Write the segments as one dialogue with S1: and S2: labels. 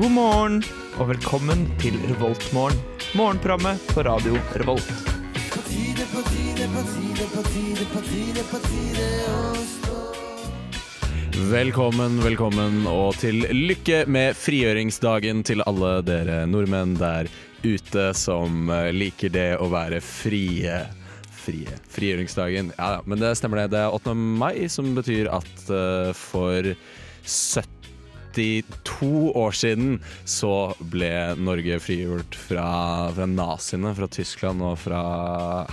S1: God morgen og velkommen til Revoltmorgen. Morgenprogrammet på radio Revolt.
S2: Velkommen, velkommen, og til lykke med frigjøringsdagen til alle dere nordmenn der ute som eh, liker det å være frie. Frie. Frigjøringsdagen. Ja, ja, men det stemmer det. Det er 8. mai, som betyr at eh, for 72 år siden så ble Norge frigjort fra, fra naziene, fra Tyskland og fra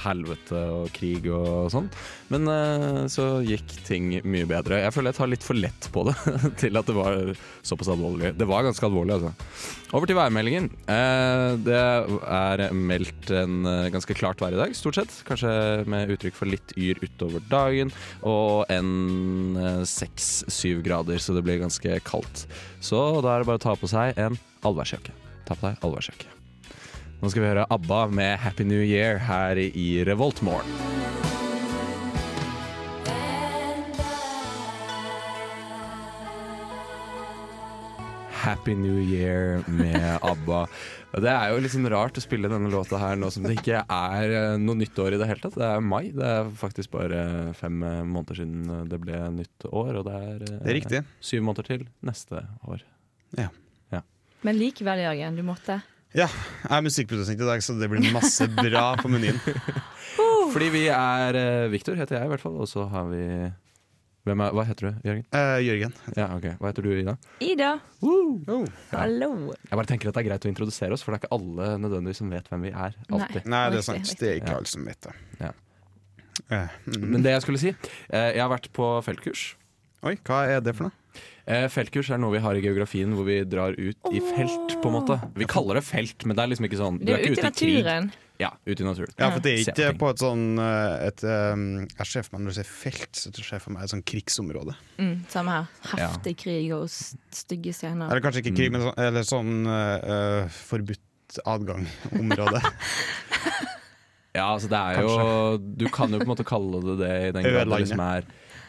S2: helvete og krig og sånn. Men eh, så gikk ting mye bedre. Jeg føler jeg tar litt for lett på det til at det var såpass alvorlig. Det var ganske alvorlig, altså. Over til værmeldingen. Eh, det er meldt en eh, ganske klart vær i dag, stort sett. Kanskje med uttrykk for litt yr utover dagen. Og en seks-syv grader, så det blir ganske kaldt. Så da er det bare å ta på seg en allværsjakke. Ta på deg allværsjakke. Nå skal vi høre ABBA med 'Happy New Year' her i Revoltmorgen. Happy New Year med ABBA. Det er jo liksom rart å spille denne låta her nå som det ikke er eh, noe nytt år i det hele tatt. Det er mai. Det er faktisk bare eh, fem eh, måneder siden eh, det ble nytt år, og det er, eh,
S3: Det er riktig.
S2: syv måneder til neste år.
S3: Ja.
S4: Men likevel, Jørgen, du måtte.
S3: Ja, jeg er musikkprodusent i dag, så det blir masse bra på menyen.
S2: Fordi vi er eh, Victor heter jeg i hvert fall, og så har vi Hvem er, Hva heter du, Jørgen?
S3: Eh, Jørgen.
S2: Ja, ok. Hva heter du, Ida?
S4: Ida,
S3: Oh.
S4: hallo.
S2: Jeg bare tenker at det er greit å introdusere oss, for det er ikke alle nødvendigvis som vet hvem vi er.
S4: Nei.
S2: Alltid.
S3: Nei, det
S4: Riktig,
S3: er sant.
S4: riktig.
S3: Det er ikke
S2: Ja.
S3: alle som vet det.
S2: Ja.
S3: Eh, mm.
S2: Men det jeg skulle si eh, Jeg har vært på feltkurs.
S3: Oi, hva er det for noe?
S2: Eh, Feltkurs er noe vi har i geografien hvor vi drar ut i felt, på en måte. Vi kaller det felt, men det er liksom ikke sånn
S4: Du er ute i
S2: krig.
S4: naturen.
S2: Ja, ute i naturen.
S3: Ja, for det er
S2: Se
S3: ikke
S2: på ting.
S3: på et sånn eh, et, eh, Jeg ser for meg når du sier felt, så ser jeg for meg et sånn krigsområde.
S4: Mm, samme her. Heftig
S2: Ja.
S4: krig og s- stygge scener.
S3: Eller kanskje ikke krig,
S2: Mm.
S3: men sånn, eller sånn eh, eh, forbudt adgang-område.
S2: Ja, altså det er jo Du kan jo på en måte kalle det det i den grad det
S3: Ødelandet.
S2: liksom er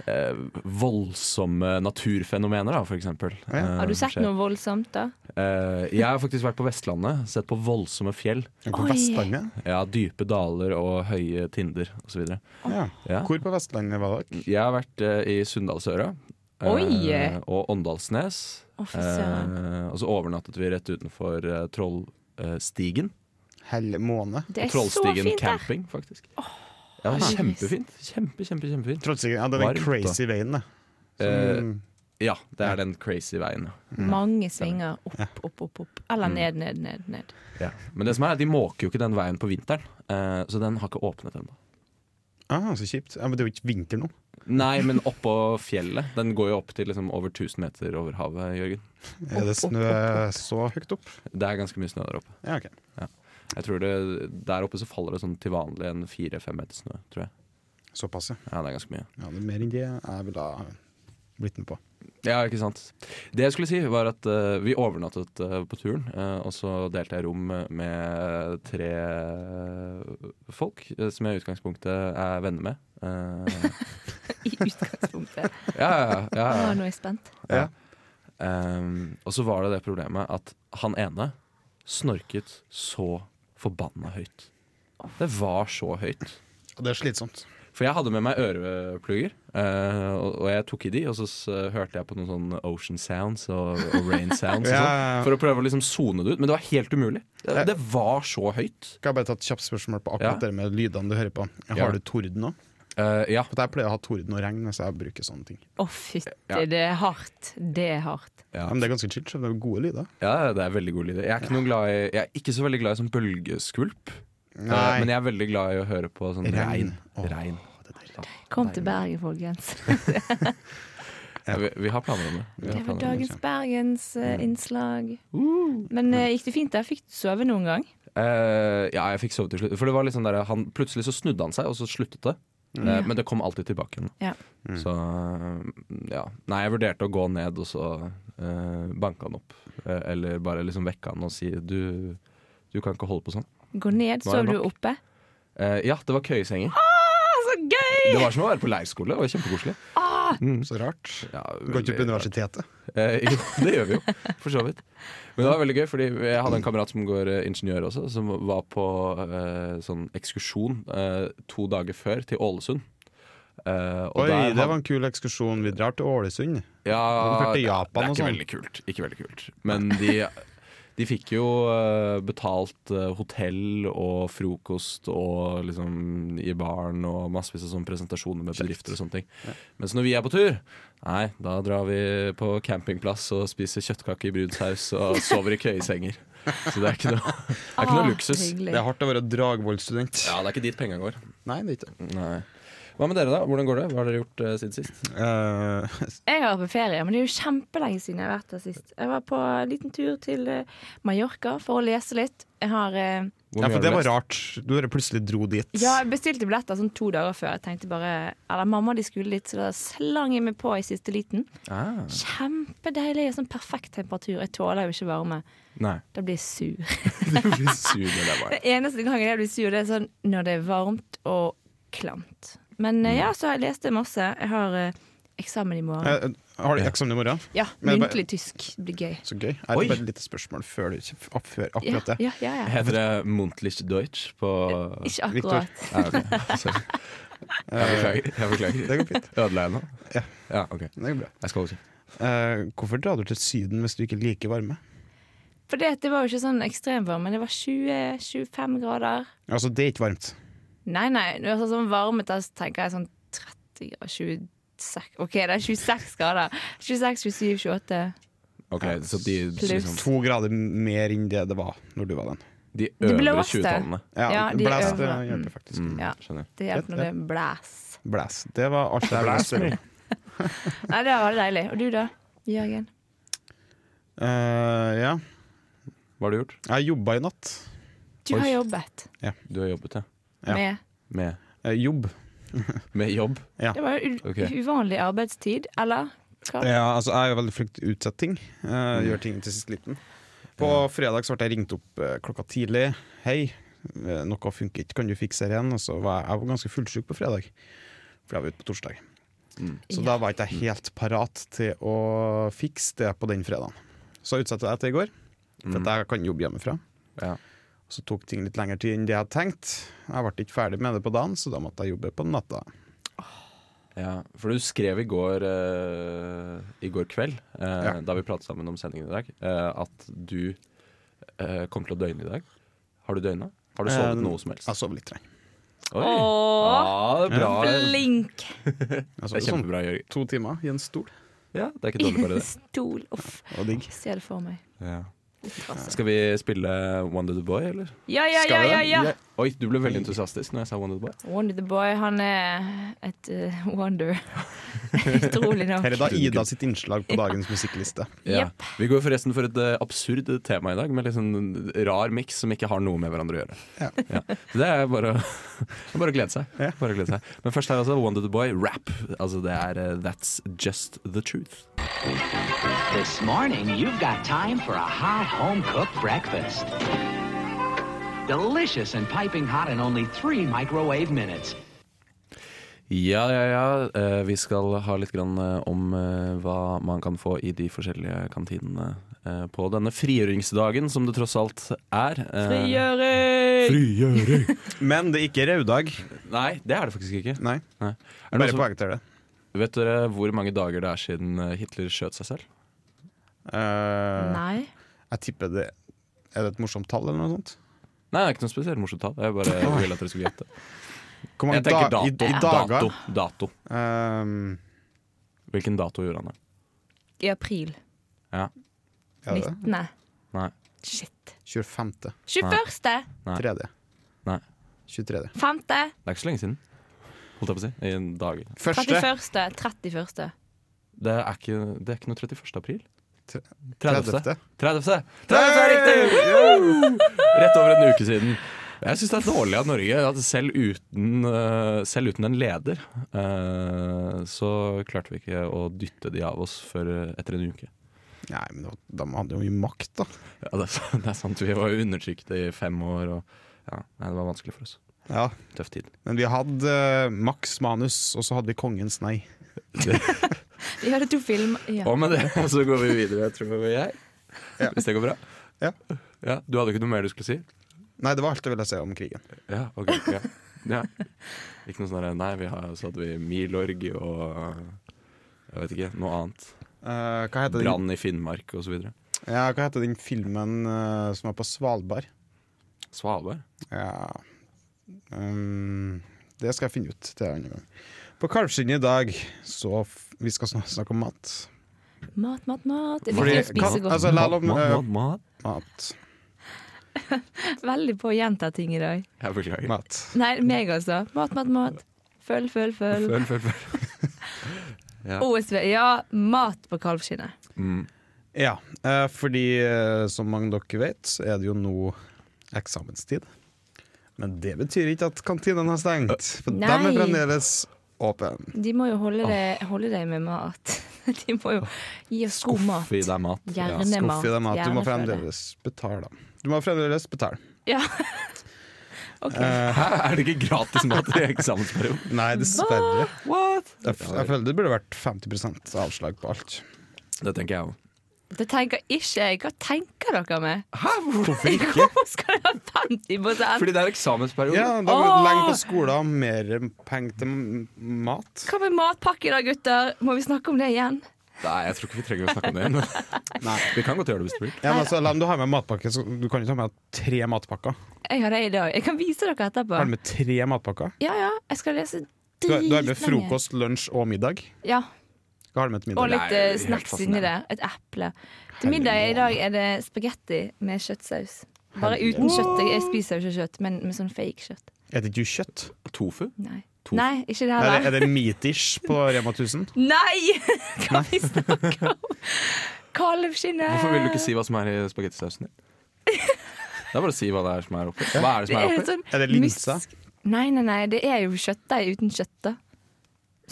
S2: eh, voldsomme naturfenomener, da, for eksempel.
S3: Ja.
S2: Eh,
S4: Har du sett
S2: skjer.
S4: noe voldsomt, da?
S2: Eh, jeg har faktisk vært på Vestlandet, sett på voldsomme fjell.
S3: På
S4: Oi.
S3: Vestlandet?
S2: Ja, dype daler og høye tinder osv.
S3: Ja.
S2: Ja.
S3: Hvor på Vestlandet var dere?
S2: Jeg har vært eh, i Sunndalsøra. eh,
S4: Oi!
S2: og Åndalsnes.
S4: Å, fy søren.
S2: Eh, og så overnattet vi rett utenfor eh, Trollstigen.
S3: Hell måne?
S4: Det er så
S2: Trollstigen
S4: fint der!
S2: camping, faktisk. Ja,
S4: herregud.
S2: kjempefint. Kjempe, kjempe, kjempefint.
S3: Trollstigen? Ja, det er
S2: Varmt, da.
S3: den crazy veien, da.
S2: Eh,
S3: Som-
S2: ja, det er den crazy veien. ja.
S4: Mange svinger opp, opp, opp. opp
S2: Mm.
S4: Eller ned, ned, ned. ned
S2: Ja. Men det som er, de måker jo ikke den veien på vinteren, eh, så den har ikke åpnet ennå.
S3: ah, så kjipt. Ja, men det er jo ikke vinter nå.
S2: Nei, men oppå fjellet. Den går jo opp til liksom over 1000 meter over havet, Jørgen.
S3: Er det snø så høyt opp?
S2: Det er ganske mye snø der oppe.
S3: Ja, ok.
S2: Jeg tror det, Der oppe så faller det sånn til vanlig en fire-fem meter snø, tror jeg.
S3: Såpass, ja.
S2: Ja, det er ganske mye.
S3: ja. Det er mer enn det jeg ville ha blitt med på.
S2: Ja, ikke sant. Det jeg skulle si, var at eh, vi overnattet eh, på turen. eh, og så delte jeg rom eh, med tre folk eh, som jeg i utgangspunktet er venner med. Eh,
S4: I utgangspunktet.
S2: ja, ja, ja,
S4: Å,
S2: ja.
S4: nå er jeg spent.
S2: Ja. Um, og så var det det problemet at han ene snorket så forbanna høyt. Det var så høyt.
S3: Og det er slitsomt.
S2: For jeg hadde med meg øreplugger, eh, og, og jeg tok i de, og så s hørte jeg på noen sånn Ocean Sounds og, og Rain Sounds og sånn,
S3: Ja, ja, ja.
S2: for å prøve å liksom sone det ut. Men det var helt umulig. Det, det var så høyt.
S3: Skal jeg bare ta et kjapt spørsmål på akkurat
S2: Ja.
S3: det med lydene du hører på? Har
S2: Ja.
S3: du torden òg?
S2: Eh, ja.
S3: For jeg pleier å ha torden og regn hvis jeg bruker sånne ting.
S4: Å, fytti,
S2: Ja.
S4: det er hardt. Det er hardt.
S2: Ja.
S3: Men det er ganske chill, så det er gode lyder.
S2: ja, det er veldig god lyd. Jeg er ikke, noe glad i, jeg er ikke så veldig glad i sånn bølgeskvulp, eh, men jeg er veldig glad i å høre på sånn regn.
S3: Regn. Åh.
S2: regn.
S3: det er deilig.
S4: Kom til Bergen, folkens.
S2: Ja, vi, vi har planer om det. Vi har planer om
S4: Det var
S2: det. Mm.
S4: dagens Bergens-innslag.
S2: Uh.
S4: Men eh, gikk det fint der? Fikk du sove noen gang?
S2: Eh, ja, jeg fikk sove til slutt. For det var litt sånn der, han, plutselig så snudde han seg, og så sluttet det. Eh, men det kom alltid tilbake igjen.
S4: Ja.
S3: Mm.
S2: Så eh, ja. Nei, jeg vurderte å gå ned, og så uh, banke han opp. Eh, eller bare liksom vekke han og si du, du kan ikke holde på sånn.
S4: Gå
S2: Var
S4: ned,
S2: det
S4: sov du
S2: nok?
S4: oppe?
S2: Eh, ja, det var køyesenger.
S4: Å, så gøy!
S2: Det var som å være på leirskole. Det var kjempekoselig.
S4: Å, rart!
S3: Så rart.
S2: Ja,
S3: Du går ikke på
S2: veldig-
S3: universitetet.
S2: Eh, jo, det gjør vi jo, for så vidt. Men det var veldig gøy, fordi jeg hadde en kamerat som går eh, ingeniør også, som var på eh, sånn ekskursjon eh, to dager før til Ålesund. Eh, og
S3: Oi,
S2: der
S3: det
S2: had-
S3: var en kul ekskursjon. Vi drar til Ålesund. Den
S2: ja,
S3: første Japan
S2: Ah, det er
S3: og
S2: ikke
S3: sånn.
S2: veldig kult. Ikke veldig kult. Men de, de fikk jo eh, betalt eh, hotell og frokost og liksom i baren og massevis av sånne presentasjoner med bedrifter og sånne ting. Mens når vi er på tur, nei, da drar vi på campingplass og spiser kjøttkake i brudsaus og sover i køyesenger. Så det er ikke noe, det er
S4: Ah,
S2: ikke
S3: Ah,
S2: noe luksus.
S3: Det er hardt å være Dragvoll-student.
S2: Ja, det er ikke dit penga går.
S3: Nei, det er ikke det.
S2: Nei. Hva med dere, da? Hvordan går det? Hva har dere gjort eh, siden sist?
S3: Eh,
S4: Jeg har vært på ferie, men det er jo kjempelenge siden jeg har vært der sist. Jeg var på en liten tur til eh, Mallorca for å lese litt. Jeg har eh,
S2: Hvor mye
S3: ja, for
S2: har
S3: det
S2: du
S3: var
S2: lest?
S3: rart. Du bare plutselig dro dit.
S4: Ja, jeg bestilte billetter sånn to dager før. Jeg tenkte bare Eller mamma de skulle litt, så da slang jeg meg på i siste liten.
S2: Ah,
S4: Kjempedeilig. Sånn perfekt temperatur. Jeg tåler jo ikke varme.
S2: nei.
S4: Da blir jeg sur.
S2: Du blir sur når det er varmt.
S4: Den eneste gangen jeg blir sur, det er sånn når det er varmt og klamt. Men
S2: Mm.
S4: eh, ja, så har jeg lest det masse. Jeg har eh, eksamen i morgen.
S3: Eh, har du
S2: Ja.
S3: eksamen i morgen?
S4: Ja,
S3: men bare-
S4: muntlig tysk. Det blir gøy.
S3: Så gøy. Jeg
S2: Oi.
S3: har bare et lite spørsmål før du opp, før
S4: Ja,
S3: akkurat det.
S4: ja, ja, ja.
S2: Heter det Muntlich Deutsch på
S4: Ikke
S3: Victor.
S4: akkurat.
S2: Ja, ok. Sorry. Jeg
S3: Eh,
S2: beklager. Jeg beklager.
S3: Det går fint.
S2: Ødela jeg nå?
S3: Ja.
S2: ja, ok.
S3: Det går bra.
S2: Jeg skal ikke.
S3: Eh, hvorfor drar du til Syden hvis du ikke liker varme?
S4: For det, det var jo ikke sånn ekstremvarme. Det var 20-25 grader.
S3: Altså, det er ikke varmt.
S4: Nei, nei. Når jeg er sånn varme, da tenker jeg sånn 30 grader 26 OK, det er 26 grader. 26, 27, 28.
S2: Ok, Så de,
S4: Pluss.
S2: liksom,
S3: To grader mer enn det det var når du var den.
S2: de
S4: Det
S2: øvre
S4: blåste.
S2: 20-tallene.
S4: Ja, de
S3: blæs,
S4: øvre.
S3: det
S4: Mm.
S3: eh, hjelper faktisk.
S2: Mm,
S4: Ja.
S2: skjønner.
S4: Det hjelper når det er blæs.
S3: Blæs. Det var alt jeg ville spørre om.
S4: Nei, det var deilig. Og du da, Jørgen?
S3: Eh, ja.
S2: Hva har du gjort?
S3: Jeg jobba i natt.
S4: Du har
S2: Oi.
S4: jobbet
S2: Du har jobbet, ja.
S3: Ja.
S4: med
S2: Med,
S3: Eh, jobb.
S2: med jobb.
S4: Det var jo u
S2: Ok.
S4: uvanlig arbeidstid, eller? Hva?
S3: Ja, altså, jeg er jo veldig flink til å utsette ting. Eh, gjør ting til siste liten. På fredag så ble jeg ringt opp eh, klokka tidlig. Hei, eh, noe funker ikke, kan du fikse det igjen? Og så var jeg, jeg var ganske fullsjuk på fredag, for jeg var ute på torsdag.
S2: Mm.
S3: Så da var ikke jeg helt parat til å fikse det på den fredagen. Så utsatte jeg til i går, for
S2: Mm.
S3: at jeg kan jobbe hjemmefra.
S2: Ja.
S3: Så tok ting litt lengre tid enn det jeg hadde tenkt. Jeg ble ikke ferdig med det på dagen, så da måtte jeg jobbe på natta.
S2: ja. For du skrev i går, eh, i går kveld, eh,
S3: Ja.
S2: da vi pratet sammen om sendingen i dag, eh, at du eh, kom til å døgne i dag. Har du døgna? Har du sovet
S3: Eh,
S2: noe som helst?
S3: Jeg sov litt treng.
S2: Oi. Ah, Ja,
S4: Åh,
S2: det er bra.
S4: flink!
S3: Jeg
S2: Det
S3: sov
S2: er
S3: sånn
S2: kjempebra, Jørgen.
S3: to timer i en stol.
S2: Ja, det er ikke
S4: I
S2: dårlig bare
S4: en
S2: det.
S4: stol. Uff,
S3: Det var digg.
S4: jeg ser det for meg. Litt trassig.
S2: Skal vi spille One Little Boy, eller?
S4: Ja, ja, ja,
S2: Skal vi
S4: ja,
S2: det?
S4: ja!
S2: Eh, Oi, du ble veldig entusiastisk når jeg sa One Little Boy.
S4: Wonder the Boy, han er et eh, wonder. Utrolig nok.
S3: Her er da Ida sitt innslag på dagens musikkliste.
S2: Ja.
S4: Jepp.
S2: Vi går forresten for et eh, absurd tema i dag, med litt sånn rar miks som ikke har noe med hverandre å gjøre.
S3: Ja.
S2: Så det er bare, å- bare å glede seg.
S3: Ja.
S2: Bare å glede seg. Men først her altså One Little Boy, rap. Altså det er eh, That's Just The Truth.
S5: This morning, you've got time for a hot home cooked breakfast. Delicious and piping hot in only three microwave minutes.
S2: Ja, ja, ja. Eh, vi skal ha litt grann eh, om eh, hva man kan få i de forskjellige kantinene eh, på denne frigjøringsdagen, som det tross alt er. Eh,
S4: Frigjøring!
S2: Frigjøring!
S3: Men det er ikke raudag.
S2: Nei, det er det faktisk ikke.
S3: Nei,
S2: Nei. Er det
S3: bare
S2: noen som,
S3: poengter det.
S2: vet dere hvor mange dager det er siden eh, Hitler skjøt seg selv?
S3: Eh,
S4: Nei.
S3: jeg tipper det Er det et morsomt tall, eller noe sånt?
S2: Nei, det er ikke noe spesielt morsomt tall. Jeg bare ville at dere skulle gjette.
S3: Hvor mange
S2: Jeg tenker
S3: da-
S2: dato.
S3: i, i dager?
S2: dato. dato.
S3: Ehm,
S2: Hvilken dato gjorde han det?
S4: I april.
S2: Ja.
S3: er det det?
S4: 19.
S2: Nei.
S4: Shit.
S3: 25.
S4: 21.
S2: Nei.
S3: 3.
S2: Nei.
S3: 23.
S4: 5.
S2: Det er ikke så lenge siden. Holdt jeg på å si. I en dag.
S3: Første.
S4: 31. 31.
S2: Det er ikke, det er ikke noe 31. april.
S3: Tre-
S2: 30.
S3: 30.
S2: 30. 30 er riktig! Rett over en uke siden. Jeg syns det er dårlig av Norge at selv uten, eh, selv uten en leder, eh, så klarte vi ikke å dytte de av oss før eh, etter en uke.
S3: Nei, men det var, de hadde jo mye makt, da.
S2: Ja, det, er, sant- det er sant. Vi var jo undertrykt i fem år, og ja, nei, det var vanskelig for oss.
S3: Ja,
S2: Tøff tid.
S3: Men vi hadde eh, maks manus, og så hadde vi kongens nei.
S4: Vi hadde to filmer. Ja.
S2: Og med det så går vi videre, tror jeg.
S3: Ja.
S2: Hvis det går bra.
S3: Ja.
S2: Ja, du hadde ikke noe mer du skulle si?
S3: Nei, det var alt jeg ville si om krigen.
S2: Ja, ok. Ja. Ja. Ikke noe sånn der, Nei, vi har, så hadde vi Milorg og jeg vet ikke, noe annet.
S3: Eh, hva, heter den,
S2: Brann i Finnmark osv.
S3: ja, hva heter den filmen eh, som var på Svalbard?
S2: Svalbard.
S3: Ja um, Det skal jeg finne ut til en annen gang. På Kalvskinnet i dag så f Vi skal snak- snakke om mat.
S4: Mat, mat, mat. Det eh, er
S3: Fordi-
S4: viktig å spise
S3: kan-
S4: godt.
S3: altså, la-
S2: mat, mat.
S3: Mat.
S4: Veldig på å gjenta ting i dag.
S2: Jeg beklager.
S3: Mat.
S4: Nei, meg altså. Mat, mat, mat. Følg, følg, følg.
S2: Følg, følg, følg. Ja.
S4: OSV. Ja, mat på kalvskinnet.
S2: Mm.
S3: Ja, eh, fordi eh, som mange dere vet, så er det jo nå eksamenstid. Men det betyr ikke at kantinen har stengt, for
S4: Nei.
S3: den er fremdeles åpen.
S4: De må jo holde deg, holde deg med mat. De må jo gi oss god Oh, mat.
S2: Skuff i deg mat.
S4: Gjerne
S3: Skuff
S4: mat.
S3: i deg mat. Du må
S4: Gjerne følg det.
S3: fremdeles betale. Du må fremdeles betale.
S4: Ja. OK.
S3: Eh.
S2: Hæ, er det ikke gratis mat i eksamensperioden?
S3: Nei, dessverre.
S2: What?
S3: Jeg, f jeg føler det burde vært 50 avslag på alt.
S2: Det tenker jeg òg.
S4: Det tenker ikke jeg. Hva tenker dere med?
S2: Hæ, hvorfor ikke?
S4: Hvorfor skal jeg ha 50
S2: Fordi det er eksamensperiode.
S3: Ja, da
S4: Åh!
S3: Lenge på skolen, mer penger til m- mat.
S4: Hva med matpakke da, gutter? Må vi snakke om det igjen?
S2: Nei, jeg tror ikke vi trenger å snakke om det igjen.
S3: Nei.
S2: Vi kan godt gjøre det hvis du vil.
S3: Ja, men altså, Selv om du har med matpakke, så du kan ikke ha med tre matpakker.
S4: Jeg har det i dag. Jeg kan vise dere etterpå.
S3: Har du med tre matpakker?
S4: Ja, ja. Jeg skal lese
S3: Du har, du har
S4: dritlenge.
S3: med frokost, lunsj og middag.
S4: Ja.
S3: Hva har du med til
S4: Og
S3: middag?
S4: litt
S2: Nei,
S4: eh,
S2: helt
S4: snacks inni det.
S2: fascinerende.
S4: Et eple. Til middag i dag er det spagetti med kjøttsaus. Bare uten kjøtt. Jeg spiser jo ikke kjøtt, men med sånn fake kjøtt.
S3: Er det ikke kjøtt?
S2: Tofu?
S4: Nei,
S2: To-
S4: Nei ikke det
S3: Er det,
S4: heller.
S3: er det meat-ish på Rema 1000?
S4: Nei! Hva vi snakker om? Kalvskinnet.
S2: Hvorfor vil du ikke si hva som er i spagettisausen din? Det er bare å si hva det er som er oppi. Hva er det som er oppi?
S4: sånn
S3: Er det linser?
S4: mysk- Nei, nei, nei. Det er jo kjøttdeig uten kjøtt, da.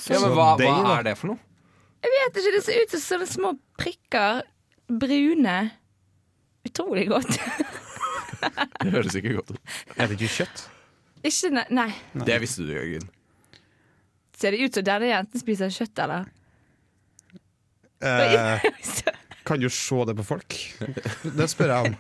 S2: Ja, men hva, hva er det for noe?
S4: Jeg vet ikke. Det ser ut som sånne små prikker. Brune. Utrolig godt.
S2: Det høres ikke godt ut.
S3: Er det ikke kjøtt?
S4: ikke ne- Nei.
S2: Det visste du, Jørgen.
S4: Ser det ut som denne jenten spiser kjøtt, eller?
S3: Eh, kan du se det på folk? Det spør jeg om.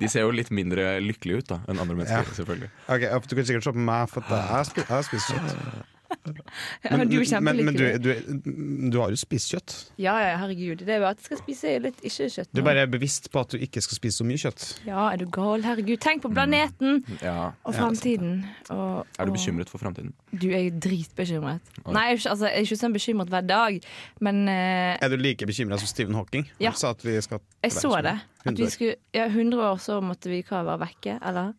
S2: De ser jo litt mindre lykkelige ut da, enn andre mennesker, selvfølgelig.
S3: Ok, Du kan sikkert se på meg, for at jeg, spi- jeg spiser kjøtt.
S4: Ja, men, du er
S3: men, men du,
S4: kjempelykkelig.
S3: du, du har jo spist kjøtt.
S4: Ja, ja, herregud. Det er jo at jeg skal spise litt ikke kjøtt.
S3: Du
S4: nå.
S3: bare er bevisst på at du ikke skal spise så mye kjøtt.
S4: Ja, er du gal? Herregud. Tenk på planeten
S2: Ja.
S4: og framtiden. Og,
S2: Er du
S4: og-
S2: bekymret for framtiden?
S4: Du er jo dritbekymret.
S2: Oi.
S4: Nei, jeg er, ikke, altså, jeg er ikke sånn bekymret hver dag, men eh,
S3: Er du like bekymra som Stephen Hawking?
S4: Ja.
S3: Han sa at vi skal
S4: jeg så det. At
S3: 100
S4: vi
S3: år.
S4: skulle Ja, 100 år så måtte vi hva være vekke, eller?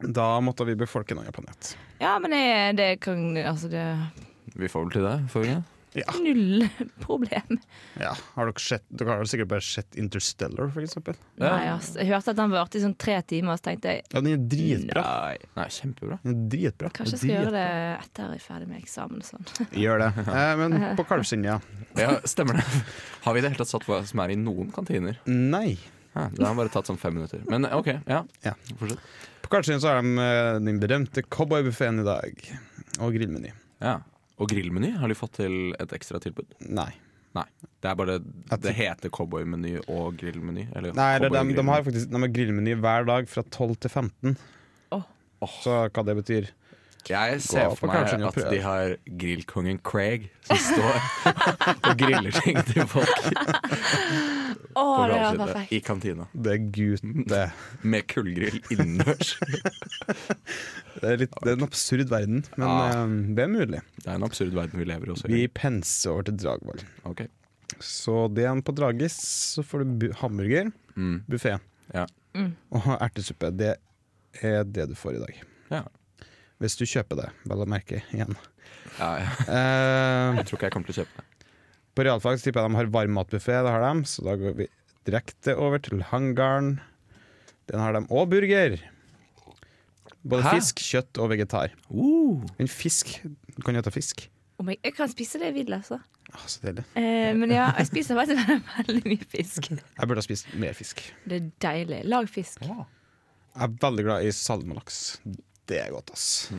S3: Da måtte vi befolke en annen planet.
S4: Ja, men jeg, det kan Altså, det er
S2: Vi får vel til det, får vi ikke?
S4: null problem.
S3: Ja, har Dere sett, dere har vel sikkert bare sett Interstellar, for eksempel.
S2: Ja.
S4: Nei, ass. Jeg hørte at den varte i sånn tre timer, så tenkte jeg
S3: Ja, den er dritbra.
S2: Nei. Nei, kjempebra.
S3: Den er dritbra.
S4: kanskje jeg skal gjøre det etter jeg er ferdig med eksamen og sånn.
S3: Gjør det. Eh, men på kalvskinnet, ja.
S2: Ja, stemmer det. Har vi i det hele tatt satt hva som er i noen kantiner?
S3: Nei.
S2: Ja, det har bare tatt sånn fem minutter. Men OK, ja.
S3: Ja.
S2: Fortsett.
S3: På kalvskinnet så har de eh, den berømte cowboybuffeen i dag. Og grillmeny.
S2: Ja. Og grillmeny, har de fått til et ekstra tilbud?
S3: Nei.
S2: Nei. Det er bare
S3: At-
S2: Det heter cowboymeny og grillmeny. Eller
S3: Nei det, de, de
S2: cowboygrillmeny.
S3: har faktisk de har grillmeny hver dag fra 12 til 15.
S4: Åh.
S3: Så hva det betyr
S2: Jeg ser
S3: Gå
S2: for
S3: på
S2: meg
S3: kanskje og
S2: at
S3: prøv.
S2: de har grillkongen Craig som står og griller ting til folk
S4: Å,
S2: på
S4: det var
S2: gravskinnet
S4: perfekt.
S2: i kantina.
S3: Det er gutten, det.
S2: Med kullgrill innendørs.
S3: Det er, litt, det er en absurd verden, men
S2: Ja.
S3: eh, det er mulig.
S2: Det er en absurd verden vi lever i også.
S3: Vi penser over til Dragvoll.
S2: Ok.
S3: Så det er en på Dragis, så får du bu- hamburger,
S2: Mm.
S3: buffé
S2: Ja.
S3: og ertesuppe. Det er det du får i dag.
S2: Ja.
S3: Hvis du kjøper det, vel å merke igjen.
S2: Ja, ja.
S3: Eh,
S2: Jeg tror ikke jeg kommer til å kjøpe det.
S3: på realfag så tipper jeg de har varmmatbuffé, det har de, så da går vi direkte over til hangaren. Den har de, og burger! Både
S2: Hæ?
S3: fisk, kjøtt og vegetar.
S2: Uh.
S3: Men fisk Du kan jo ta fisk.
S4: Om jeg, jeg kan spise det jeg vil, altså.
S3: Ah, så deilig.
S4: Eh, men ja, jeg spiser faktisk veldig mye fisk.
S3: Jeg burde ha spist mer fisk.
S4: Det er deilig. Lag fisk.
S3: Jeg er veldig glad i salmalaks. Det er godt, ass.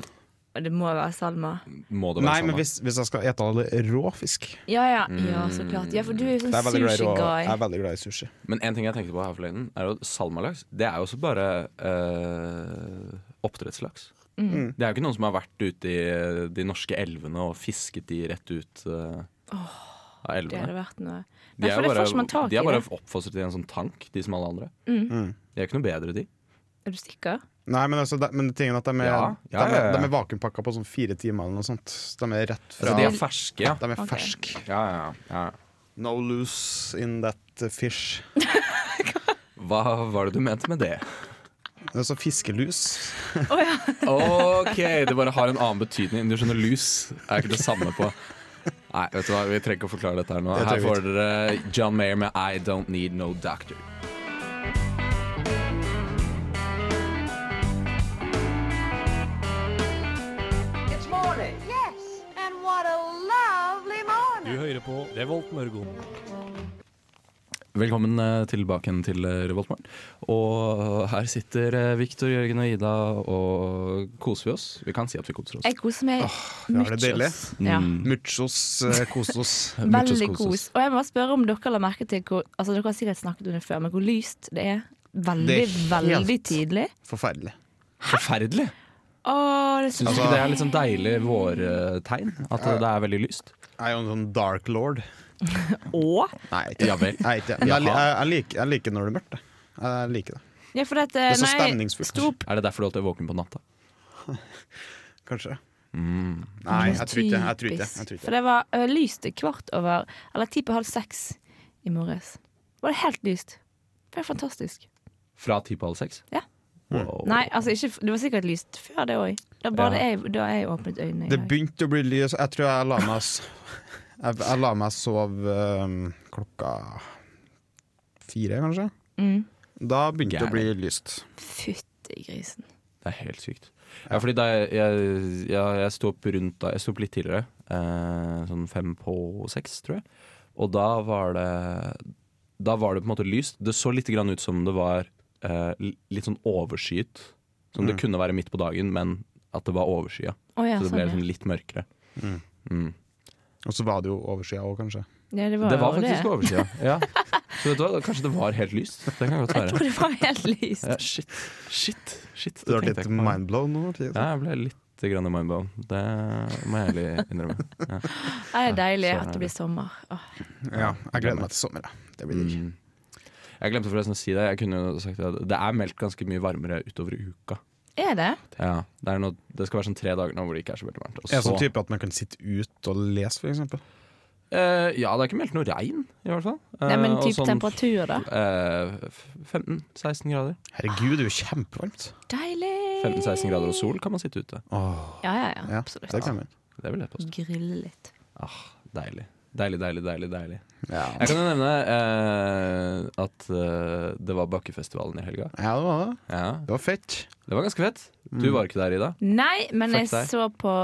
S4: Og det må være salma.
S2: Må det være
S3: Nei,
S2: sånn?
S3: men
S2: da?
S3: hvis, hvis jeg skal ete all rå fisk
S4: Ja, ja, ja, så klart. Ja, for du er jo
S3: Mm. Jeg er
S4: sånn
S3: veldig glad i, rå, jeg
S4: sushi-guy.
S3: er veldig glad i sushi.
S2: Men en ting jeg tenkte på her forleden, er jo salmalaks. Det er jo også bare eh, oppdrettslaks.
S3: Mm.
S2: Det er jo ikke noen som har vært ute i eh, de norske elvene og fisket de rett ut eh, av
S4: Det hadde
S2: elvene.
S4: vært noe.
S2: De
S4: Nei,
S2: er
S4: for
S2: jo
S4: det får ikke man
S2: bare,
S4: tak
S2: de
S4: i.
S2: er bare
S4: det.
S2: oppfostret i en sånn tank, de som alle andre.
S3: Mm.
S2: De er ikke noe bedre, de.
S4: Er du sikker?
S3: Nei, men, altså, de, men tingen er at de er,
S2: Ja, ja,
S3: de,
S2: ja, ja.
S3: er, de er vakuumpakka på sånn fire timer eller noe sånt. Så De er rett fra
S2: Altså, de er ferske, ja.
S3: De er
S4: Ok.
S3: ferske.
S2: ja, ja, ja.
S3: No loose in that fish.
S2: Hva var det du mente med det?
S3: Det er så fiskelus.
S2: Ok, det bare har en annen betydning. Du skjønner, lus er ikke det samme på Nei, vet du hva, vi trenger ikke å forklare dette her nå.
S3: Det
S2: Her
S3: trenger vi
S2: får dere John Mayer med I Don't Need No Doctor.
S6: Yes, and what a lovely morning.
S7: Du hører på Revolt Mørgon.
S2: Velkommen eh, tilbake igjen til eh, Revoltmorgen. Og her sitter eh, Victor, Jørgen og Ida og koser vi oss. Vi kan si at vi koser oss.
S4: Jeg koser meg.
S3: vi har det
S4: muchos.
S3: deilig. Mm.
S4: Ja.
S3: Muchos eh, kosos.
S2: Muchos
S4: Veldig
S2: koser
S4: kos.
S2: oss.
S4: Og jeg må bare spørre om dere la merke til hvor Altså Dere har sikkert snakket om det før, men hvor lyst det er. Veldig,
S3: Det er helt-
S4: veldig tidlig.
S3: Forferdelig.
S2: Forferdelig!
S4: Å, det er så
S2: Syns du
S3: Altså-
S2: ikke det er litt sånn deilig vårtegn? At eh, det er veldig lyst?
S3: Jeg er jo en sånn dark lord.
S4: Å.
S3: Nei, ikke.
S2: Ja vel.
S3: Nei, ikke. Men jeg, li-
S2: Jaha.
S3: jeg, jeg, liker, jeg liker når det er mørkt. jeg. Jeg liker det.
S4: Ja, for eh, dette,
S3: Det er så
S4: når jeg
S3: stemningsfullt.
S4: sto opp-
S2: Er det derfor du alltid er våken på natta?
S3: Kanskje. Nei, jeg tror ikke jeg tror ikke, jeg tror
S4: Typisk.
S3: ikke.
S4: For det var ø, lyst til kvart over Eller ti på halv seks i morges. Var det helt lyst. Det var fantastisk.
S2: Fra ti på halv seks?
S4: Ja.
S2: Wow.
S4: Nei, altså ikke, det var sikkert lyst før det òg. Da, bare jeg- da jeg åpnet øynene. i
S3: Det
S4: dag.
S3: begynte å bli lys. Jeg tror jeg la meg s- Jeg, jeg la meg sove um, klokka fire, kanskje.
S4: Mm.
S3: Da begynte det å bli
S2: Gæren.
S3: lyst.
S4: Fytti grisen.
S2: Det er helt sykt. Ja, fordi da jeg, jeg, jeg, jeg sto opp rundt da Jeg sto opp litt tidligere, eh, sånn fem på seks, tror jeg. Og da var det Da var det på en måte lyst. Det så litt grann ut som det var eh, li- litt sånn overskyet. Som det kunne være midt på dagen, men at det var overskya.
S4: Å ja,
S2: Så det ble
S4: sånn.
S2: liksom litt mørkere. Mm.
S3: Og så var det jo overskya òg, kanskje.
S4: Ja, Ja, det var,
S2: Det var
S4: jo
S2: faktisk
S4: det.
S2: overskya. Ja. Så vet du hva, kanskje det var helt lyst. Det kan godt
S4: Jeg tror
S2: være.
S4: det var helt lyst.
S2: Ja, shit. Shit. shit.
S3: Du har
S2: tenkte jeg
S3: litt
S2: ikke på.
S3: mindblown nå? Mathias.
S2: Ja, jeg ble litt grann mindblown. Det må jeg ærlig innrømme.
S4: Det er deilig
S2: sånn
S4: at
S2: er
S4: det blir sommer. Åh.
S3: Ja, jeg gleder meg til sommer. jeg. Det blir digg.
S2: Mm. Jeg glemte forresten å si det. Jeg kunne jo sagt at Det er meldt ganske mye varmere utover i uka.
S4: Er det?
S2: Ja, det, er noe, det skal være sånn tre dager nå hvor det ikke er så veldig varmt. Og
S3: En
S2: så-
S3: sånn type at man kan sitte ute og lese, for eksempel.
S2: Eh, ja, det er ikke meldt noe regn, i hvert fall. Eh,
S4: Nei, men
S2: og
S4: type
S2: sånn,
S4: temperatur, da.
S2: eh, f- 15-16 grader.
S3: Herregud, det er jo kjempevarmt.
S4: Deilig!
S2: 15-16 grader og sol kan man sitte ute.
S4: Ja, ja, ja.
S3: Ja,
S4: Absolutt.
S3: det kan man.
S2: Det vil jeg påstå.
S4: Grille litt.
S2: Ah, deilig. Deilig, deilig, deilig. deilig
S3: Ja.
S2: Jeg kan jo nevne eh, at eh, det var Bakkefestivalen i helga.
S3: ja, det var det.
S2: Ja,
S3: Det var fett.
S2: Det var ganske fett. Du var ikke der, Ida.
S4: Nei, men
S2: Fuck
S4: jeg
S2: deg.
S4: så på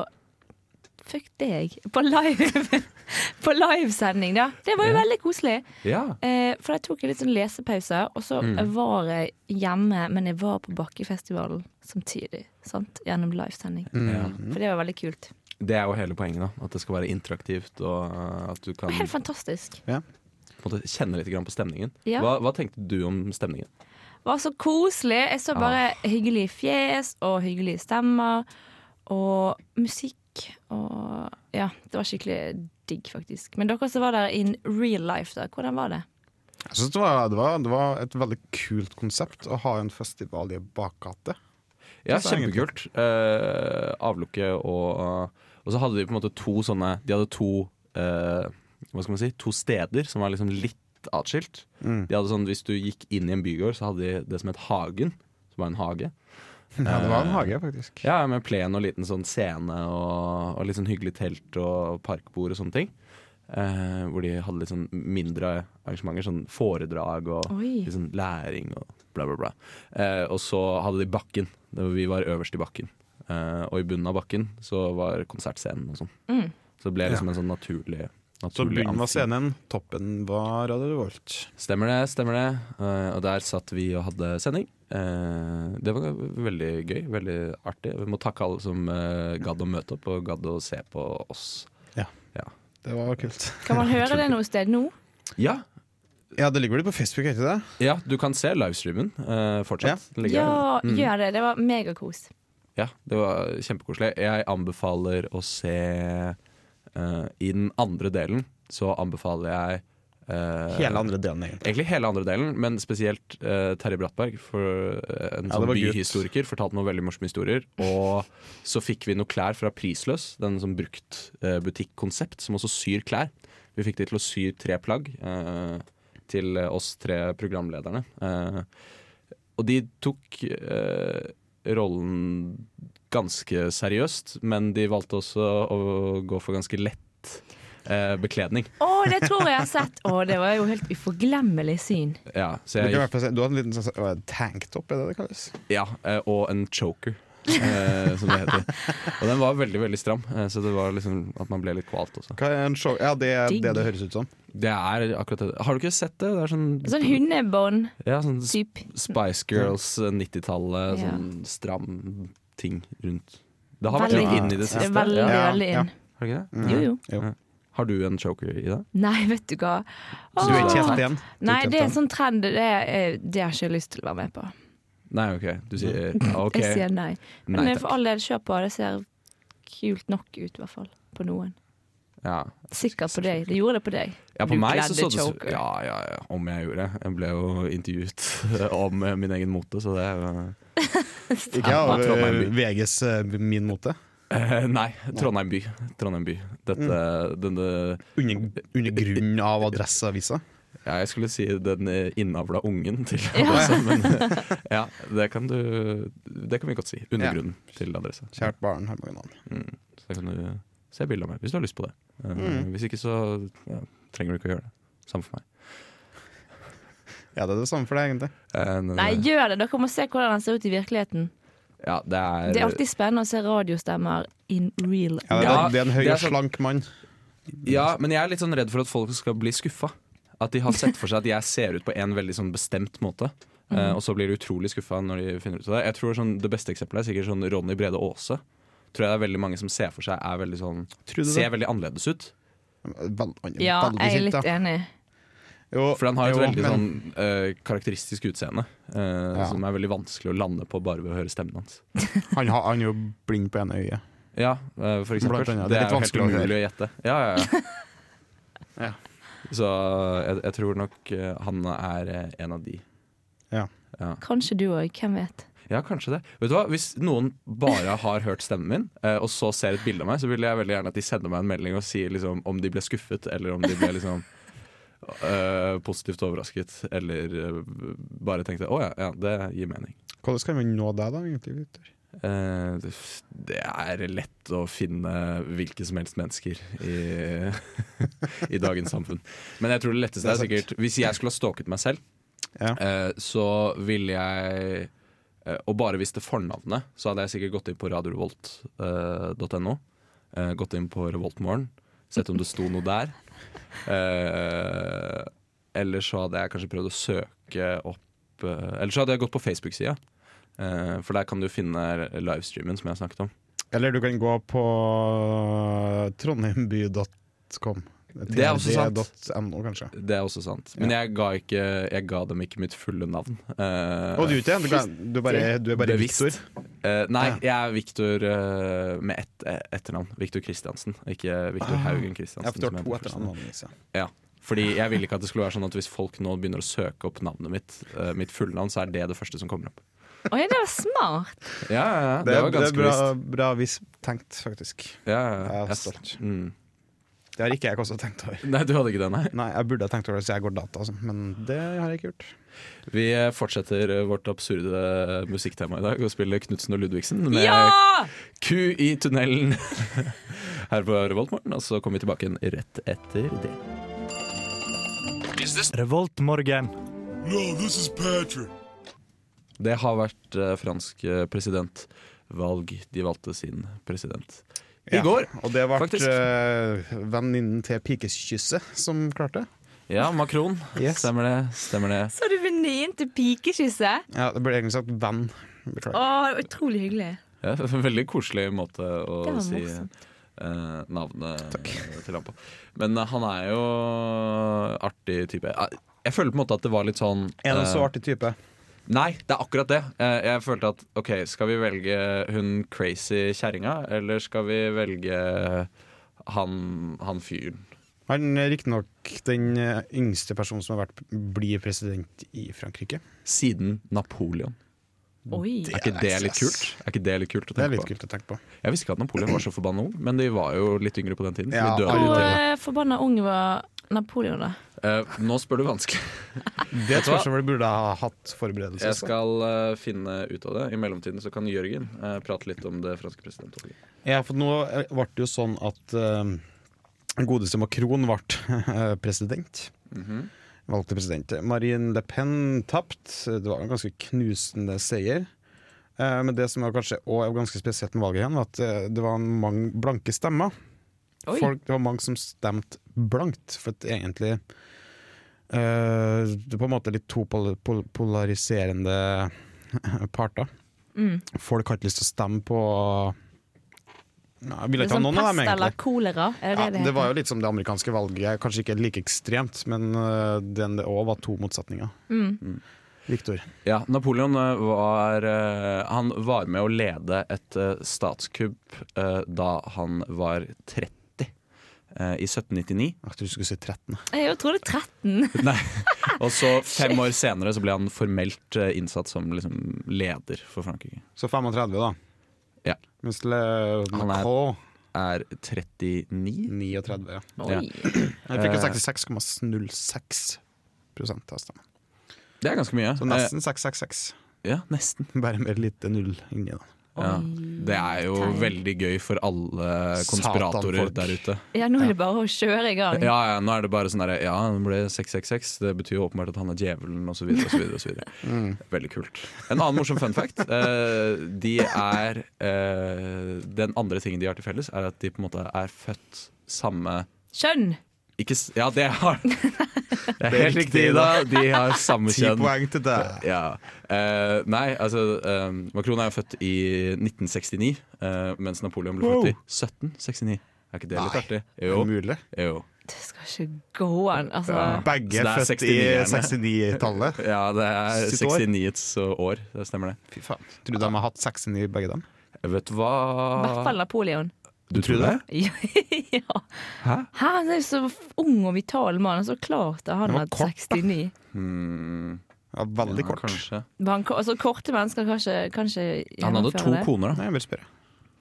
S4: Fuck deg. På live På livesending, da. Det var jo
S2: Ja.
S4: veldig koselig.
S2: Ja.
S4: Eh, for jeg tok en litt sånn lesepause, og så var jeg hjemme, men jeg var på Bakkefestivalen samtidig. Sant? Gjennom livesending.
S2: ja.
S4: For det var veldig kult.
S2: Det er jo hele poenget, da. At det skal være interaktivt, og eh, at du kan
S4: Det var helt fantastisk.
S2: på en måte kjenne litt grann på stemningen.
S4: Ja.
S2: Hva, hva tenkte du om stemningen?
S4: Det var så koselig. Jeg så bare hyggelige fjes og hyggelige stemmer og musikk og Ja, det var skikkelig digg, faktisk. Men dere som var der in real life, da, hvordan var det?
S3: Jeg synes det, var, det, var, det var et veldig kult konsept å ha en festival i bakgate.
S2: Ja,
S3: Det sa jeg
S2: kjempekult. Eh, avlukke og Og så hadde de på en måte to sånne De hadde to eh, Hva skal man si? To steder som var liksom litt atskilt. De hadde sånn, Hvis du gikk inn i en bygård, så hadde de det som het Hagen. Som var en hage.
S3: Ja, det var en hage, faktisk.
S2: Ja, med plen og liten sånn scene og, og litt sånn hyggelig telt og parkbord og sånne ting. Eh, hvor de hadde litt sånn mindre arrangementer, sånn foredrag og
S4: Oi.
S2: litt sånn læring og bla, bla, bla. Eh, og så hadde de bakken. Det var- Vi var øverst i bakken. Eh, og i bunnen av bakken så var konsertscenen og sånn. Så det ble liksom en sånn naturlig
S3: Så
S2: naturlig
S3: bunnen var
S2: amfi.
S3: scenen, toppen var Radio Revolt.
S2: Stemmer det, stemmer det. Eh, og der satt vi og hadde sending. Eh, det var veldig gøy, veldig artig. Vi må takke alle som eh, gadd å møte opp og gadd å se på oss.
S3: Det var kult.
S4: Kan man høre det noe sted nå?
S2: Ja,
S3: Ja, det ligger vel på Facebook, ikke det?
S2: ja du kan se livestreamen eh, fortsatt. Den ligger der.
S4: Ja, gjør det. Det var megakos.
S2: ja, det var kjempekoselig. Jeg anbefaler å se eh, I den andre delen så anbefaler jeg eh,
S3: Hele andre delen, egentlig.
S2: Egentlig hele andre delen, men spesielt eh, Terje Brattberg. For, eh, en
S3: Ja, det
S2: sånn
S3: var gutt.
S2: byhistoriker fortalte noen veldig morsomme historier. Og så fikk vi noen klær fra Prisløs, den som brukt eh, butikkonsept, som også syr klær. Vi fikk de til å sy tre plagg eh, til oss tre programlederne. Eh, og de tok eh, rollen ganske seriøst, men de valgte også å gå for ganske lett eh, bekledning.
S4: Å, det tror jeg jeg har sett! Å, det var jo helt uforglemmelig syn.
S2: Ja, så
S3: Du,
S2: jeg
S3: kan i hvert fall se- du hadde en liten sånn- hva er det, tanktop, er det det kalles?
S2: Ja, eh, og en choker. eh, som det heter. Og den var veldig veldig stram, eh, så det var liksom at man ble litt kvalt også.
S3: Hva er en show? Ja, det er
S4: Digg.
S3: det det høres ut som.
S2: Det er akkurat det. Har du ikke sett det? Det er sånn,
S4: Sånn hundebånd
S2: ja, sånn sp-
S4: typ
S2: Spice Girls, eh, 90-tallet,
S4: Ja.
S2: sånn stram ting rundt. Det har vært
S4: Veldig
S2: litt inn i det
S4: Det
S2: siste.
S4: er veldig
S2: Ja.
S3: Ja,
S4: veldig
S3: ja.
S4: inn.
S2: Har, du ikke det?
S4: Jo, jo.
S2: har du en choker i deg?
S4: Nei, vet du hva.
S3: Så du er
S4: Åh.
S3: ikke helt igjen?
S4: Nei,
S3: Du
S4: det er
S3: kjente
S4: en sånn trend. Det, er, det har jeg ikke lyst til å være med på.
S2: Nei, OK. Du sier OK.
S4: Jeg sier nei. Men
S2: Nei,
S4: eh, for
S2: takk.
S4: all del, kjør på. Det ser kult nok ut, i hvert fall. På noen.
S2: Ja.
S4: Sikkert på deg. Det gjorde det på deg.
S2: Ja, på
S4: Du
S2: meg så
S4: kledde
S2: så det så-
S4: choker.
S2: Ja, ja, ja, om jeg gjorde. Jeg ble jo intervjuet om eh, min egen mote, så det er jo
S3: Ikke
S2: Ja,
S3: av
S2: Trondheim by.
S3: eh, VGs eh, Min mote.
S2: Eh, nei, Trondheim by. Trondheim by. Dette,
S4: Mm.
S2: denne,
S3: Under, under grunn av Adresseavisa.
S2: ja, jeg skulle si den eh, innavla ungen til
S4: Ja.
S2: adressa, men eh, ja, det kan du Det kan vi godt si. Undergrunnen til adressa.
S3: Kjært barn har mange navn.
S2: Mm. Så da kan du se bilde av meg hvis du har lyst på det. Eh,
S3: Mm.
S2: Hvis ikke, så ja, trenger du ikke å gjøre det. Samme for meg.
S3: Ja, det er det samme for deg, egentlig.
S2: Eh, men,
S4: Nei,
S2: eh,
S4: gjør det! Dere må se hvordan den ser ut i virkeligheten.
S2: ja, det er,
S4: Det er alltid spennende å se radiostemmer in real.
S3: Ja, det, er-
S2: Ja,
S3: det er en høy
S2: det er
S3: og
S2: sånn-
S3: slank mann.
S2: ja, men jeg er litt sånn redd for at folk skal bli skuffa. At de har sett for seg at jeg ser ut på en veldig sånn bestemt måte. eh,
S3: Mm.
S2: og så blir de utrolig skuffa når de finner ut av det. Jeg tror sånn, Det beste eksempelet er sikkert sånn Ronny Brede Aase. Tror jeg det er veldig mange som ser for seg er veldig sånn
S3: Tror du
S2: Ser
S3: det?
S2: veldig annerledes ut.
S3: Veld, an-
S4: Ja,
S3: veldig
S4: jeg er
S3: kjent,
S4: litt
S3: da.
S4: enig.
S3: Jo,
S2: For han har et
S3: jo,
S2: veldig
S3: men-
S2: sånn eh, karakteristisk utseende eh,
S3: Ja.
S2: som er veldig vanskelig å lande på bare ved å høre stemmen hans.
S3: han, har, han er jo blind på ene øyet.
S2: Ja, eh, for eksempel.
S3: Blant annet.
S2: Det
S3: Det er
S2: er jo
S3: litt
S2: helt
S3: vanskelig å
S2: umulig å gjette. Ja, ja, ja.
S3: Ja.
S2: Så jeg, jeg tror nok eh, han er eh, en av de.
S4: Kanskje du òg. Hvem vet.
S2: Ja, kanskje det. Vet du hva? Hvis noen bare har hørt stemmen min, eh, og så ser et bilde av meg, så vil jeg veldig gjerne at de sender meg en melding og sier liksom, om de ble skuffet, eller om de ble liksom eh, positivt overrasket, eller eh, bare tenkte 'å ja, ja, det gir mening'.
S3: Hvordan skal man nå deg, da? egentlig, Victor?
S2: Eh, det f- det er lett å finne hvilke som helst mennesker i, i dagens samfunn. Men jeg tror det letteste er
S3: Det er
S2: sikkert Hvis jeg skulle ha stalket meg selv,
S3: Ja.
S2: eh, så ville jeg eh, Og bare visste fornavnet, så hadde jeg sikkert gått inn på radiorevolt.no. eh, gått inn på Revoltmorgen, sett om det sto noe der. Eh, eller så hadde jeg kanskje prøvd å søke opp eh, Eller så hadde jeg gått på Facebook-sida. Eh, for der kan du finne livestreamen som jeg snakket om.
S3: Eller du kan gå eh, på trondheimby.com.
S2: Det er også sant.
S3: TRD.no, kanskje.
S2: Det er også sant. Men jeg ga, ikke, jeg ga dem ikke mitt fulle navn. Eh,
S3: Å, du er ikke det? Du, kan- du, er bare- du er bare
S2: Bevisst.
S3: Victor?
S2: eh, nei, jeg er Viktor med ett eh, etternavn. Viktor Kristiansen. Ikke Viktor
S3: Ah,
S2: Haugen
S3: Ja,
S2: Kristiansen.
S3: for du har
S2: som jeg
S3: to liksom.
S2: heter først.
S3: etternavn. vanligvis, ja.
S2: Ja. Fordi jeg vil ikke at det skulle være sånn at hvis folk nå begynner å søke opp navnet mitt, eh, mitt fulle navn, så er det det første som kommer opp.
S4: Oi, det var smart!
S2: Ja, ja, ja. Det,
S3: Det,
S2: var
S3: det er
S2: ganske
S3: bra,
S2: visst.
S3: bra vis tenkt, faktisk.
S2: Ja, ja, ja.
S3: Jeg er
S2: Jeg-
S3: stolt.
S2: Mm.
S3: Det har ikke jeg også tenkt over.
S2: Nei, du hadde ikke det, nei?
S3: Nei, jeg burde ha tenkt over det, så jeg går data, altså. men det har jeg ikke gjort.
S2: Vi fortsetter vårt absurde musikktema i dag og spiller Knutsen og Ludvigsen med
S4: Ja!
S2: Ku i tunnelen her på Revoltmorgen, og så kommer vi tilbake igjen rett etter det.
S1: Revoltmorgen.
S2: Det har vært eh, fransk eh, presidentvalg. De valgte sin president i går.
S3: Og det ble
S2: faktisk.
S3: eh, venninnen til pikekysset som klarte det.
S2: Ja, makron.
S3: Yes.
S2: Stemmer det. Stemmer det.
S4: Så du venninnen til pikekysset?
S3: Ja, det burde egentlig sagt venn. Beklager.
S2: Ah.
S4: Å, utrolig hyggelig.
S2: Ja, veldig koselig måte å
S4: Det var
S2: si
S4: morsomt.
S2: eh, navnet til ham på. Men eh, han er jo artig type. Eh, Jeg føler på en måte at det var litt sånn
S3: Er det
S2: eh,
S3: så artig type?
S2: Nei, det er akkurat det. Eh, Jeg følte at OK, skal vi velge hun crazy kjerringa, eller skal vi velge han, han fyren?
S3: Han er riktignok den eh, yngste personen som har vært blir president i Frankrike.
S2: Siden Napoleon.
S4: Oi.
S2: Er ikke det litt kult? Er ikke det litt kult å
S3: Det er
S2: tenke
S3: litt
S2: på?
S3: kult å tenke på.
S2: Jeg visste ikke at Napoleon var så forbanna ung, men de var jo litt yngre på den tiden.
S3: Ja,
S2: For de døde jo
S4: Hvor
S2: tidlig.
S4: eh, forbanna ung var Napoleon, da?
S2: Eh, nå spør du vanskelig.
S3: Det
S2: Vet du hva?
S3: spørsmålet burde ha hatt forberedelse.
S2: Jeg skal eh, finne ut av det. I mellomtiden så kan Jørgen eh, prate litt om det franske presidentvalget.
S3: Ja, for nå ble det jo sånn at eh, godeste Macron ble eh, president.
S4: Mhm.
S3: Valgte president. Marine Le Pen tapte. Det var en ganske knusende seier. Eh, men det som var kanskje også ganske spesielt med valget igjen, var at eh, det var mange blanke stemmer.
S4: Oi.
S3: Folk, det var mange som stemte blankt, for at egentlig eh, Det er på en måte litt to pol pol polariserende parter.
S4: Mm.
S3: Folk har ikke lyst til å stemme på Nei, jeg
S4: Det
S3: vil
S4: er
S3: ikke ha
S4: sånn
S3: noen av dem,
S4: pest eller
S3: egentlig.
S4: kolera? Er det
S3: Ja,
S4: det det
S3: det var jo litt som det amerikanske valget, kanskje ikke like ekstremt, men eh, den det òg var to motsetninger.
S4: Mm.
S3: Viktor.
S2: Ja, Napoleon eh, var eh, Han var med å lede et eh, statskupp eh, da han var 30. eh, I 1799.
S3: Jeg trodde du skulle si 13.
S4: Jeg jo trodde 13.
S2: Nei. Og så fem år senere så ble han formelt eh, innsatt som liksom, leder for Frankrike.
S3: Så 35, da.
S2: Ja.
S3: Mens Le
S2: Han er-
S3: Macron
S2: Er 39
S3: 39, ja.
S4: Oi.
S3: Han fikk jo
S2: Eh.
S3: 66,06 av stemmen.
S2: Det er ganske mye.
S3: Så nesten 666.
S2: Eh, ja, nesten.
S3: Bare med et lite null inni, da.
S2: Ja. Det er jo
S4: Tegn.
S2: veldig gøy for alle konspiratorer
S3: Satanfolk.
S2: der ute.
S4: Ja, nå er det bare å kjøre i gang.
S2: Ja, ja, nå er det bare sånn derre Ja, han ble 666. Det betyr jo åpenbart at han er djevelen, osv. Mm. Veldig kult. En annen morsom fun fact. eh, de er eh, Den andre tingen de har til felles, er at de på en måte er født samme
S4: Kjønn!
S2: ikke, s- Ja, det har Det er
S3: Det er
S2: helt riktig,
S3: riktig,
S2: Ida. De har samme
S3: Ti
S2: kjønn.
S3: poeng til deg.
S2: Ja. Eh, nei, altså eh, Macron er jo født i 1969, eh, mens Napoleon ble født i 1769. Er ikke det litt
S3: Nei.
S2: artig? Jo.
S3: Mulig.
S2: jo.
S4: Det skal ikke gå an. Altså,
S2: Ja.
S3: Begge
S2: Så det er
S3: født i 69-tallet.
S2: Ja, det er
S3: 72 år.
S2: 69-ets år. Det stemmer, det.
S3: Fy faen. Tror du de har hatt 69 begge dem?
S2: Eh, Vet du hva
S4: I hvert fall Napoleon.
S2: Du tror det?
S4: ja.
S2: Hæ?
S4: Hæ, han er jo så ung og vital mann. og Så klart at han
S3: var
S4: hadde
S3: kort, da.
S4: 69.
S2: Hmm,
S3: Ja, veldig
S2: ja,
S3: kort.
S2: Kanskje.
S4: Var han, ko- altså, korte mennesker kan ikke, kan ikke
S2: Han hadde
S4: gjennomføre
S2: to
S4: det.
S2: koner, da.
S3: Nei, jeg vil spørre.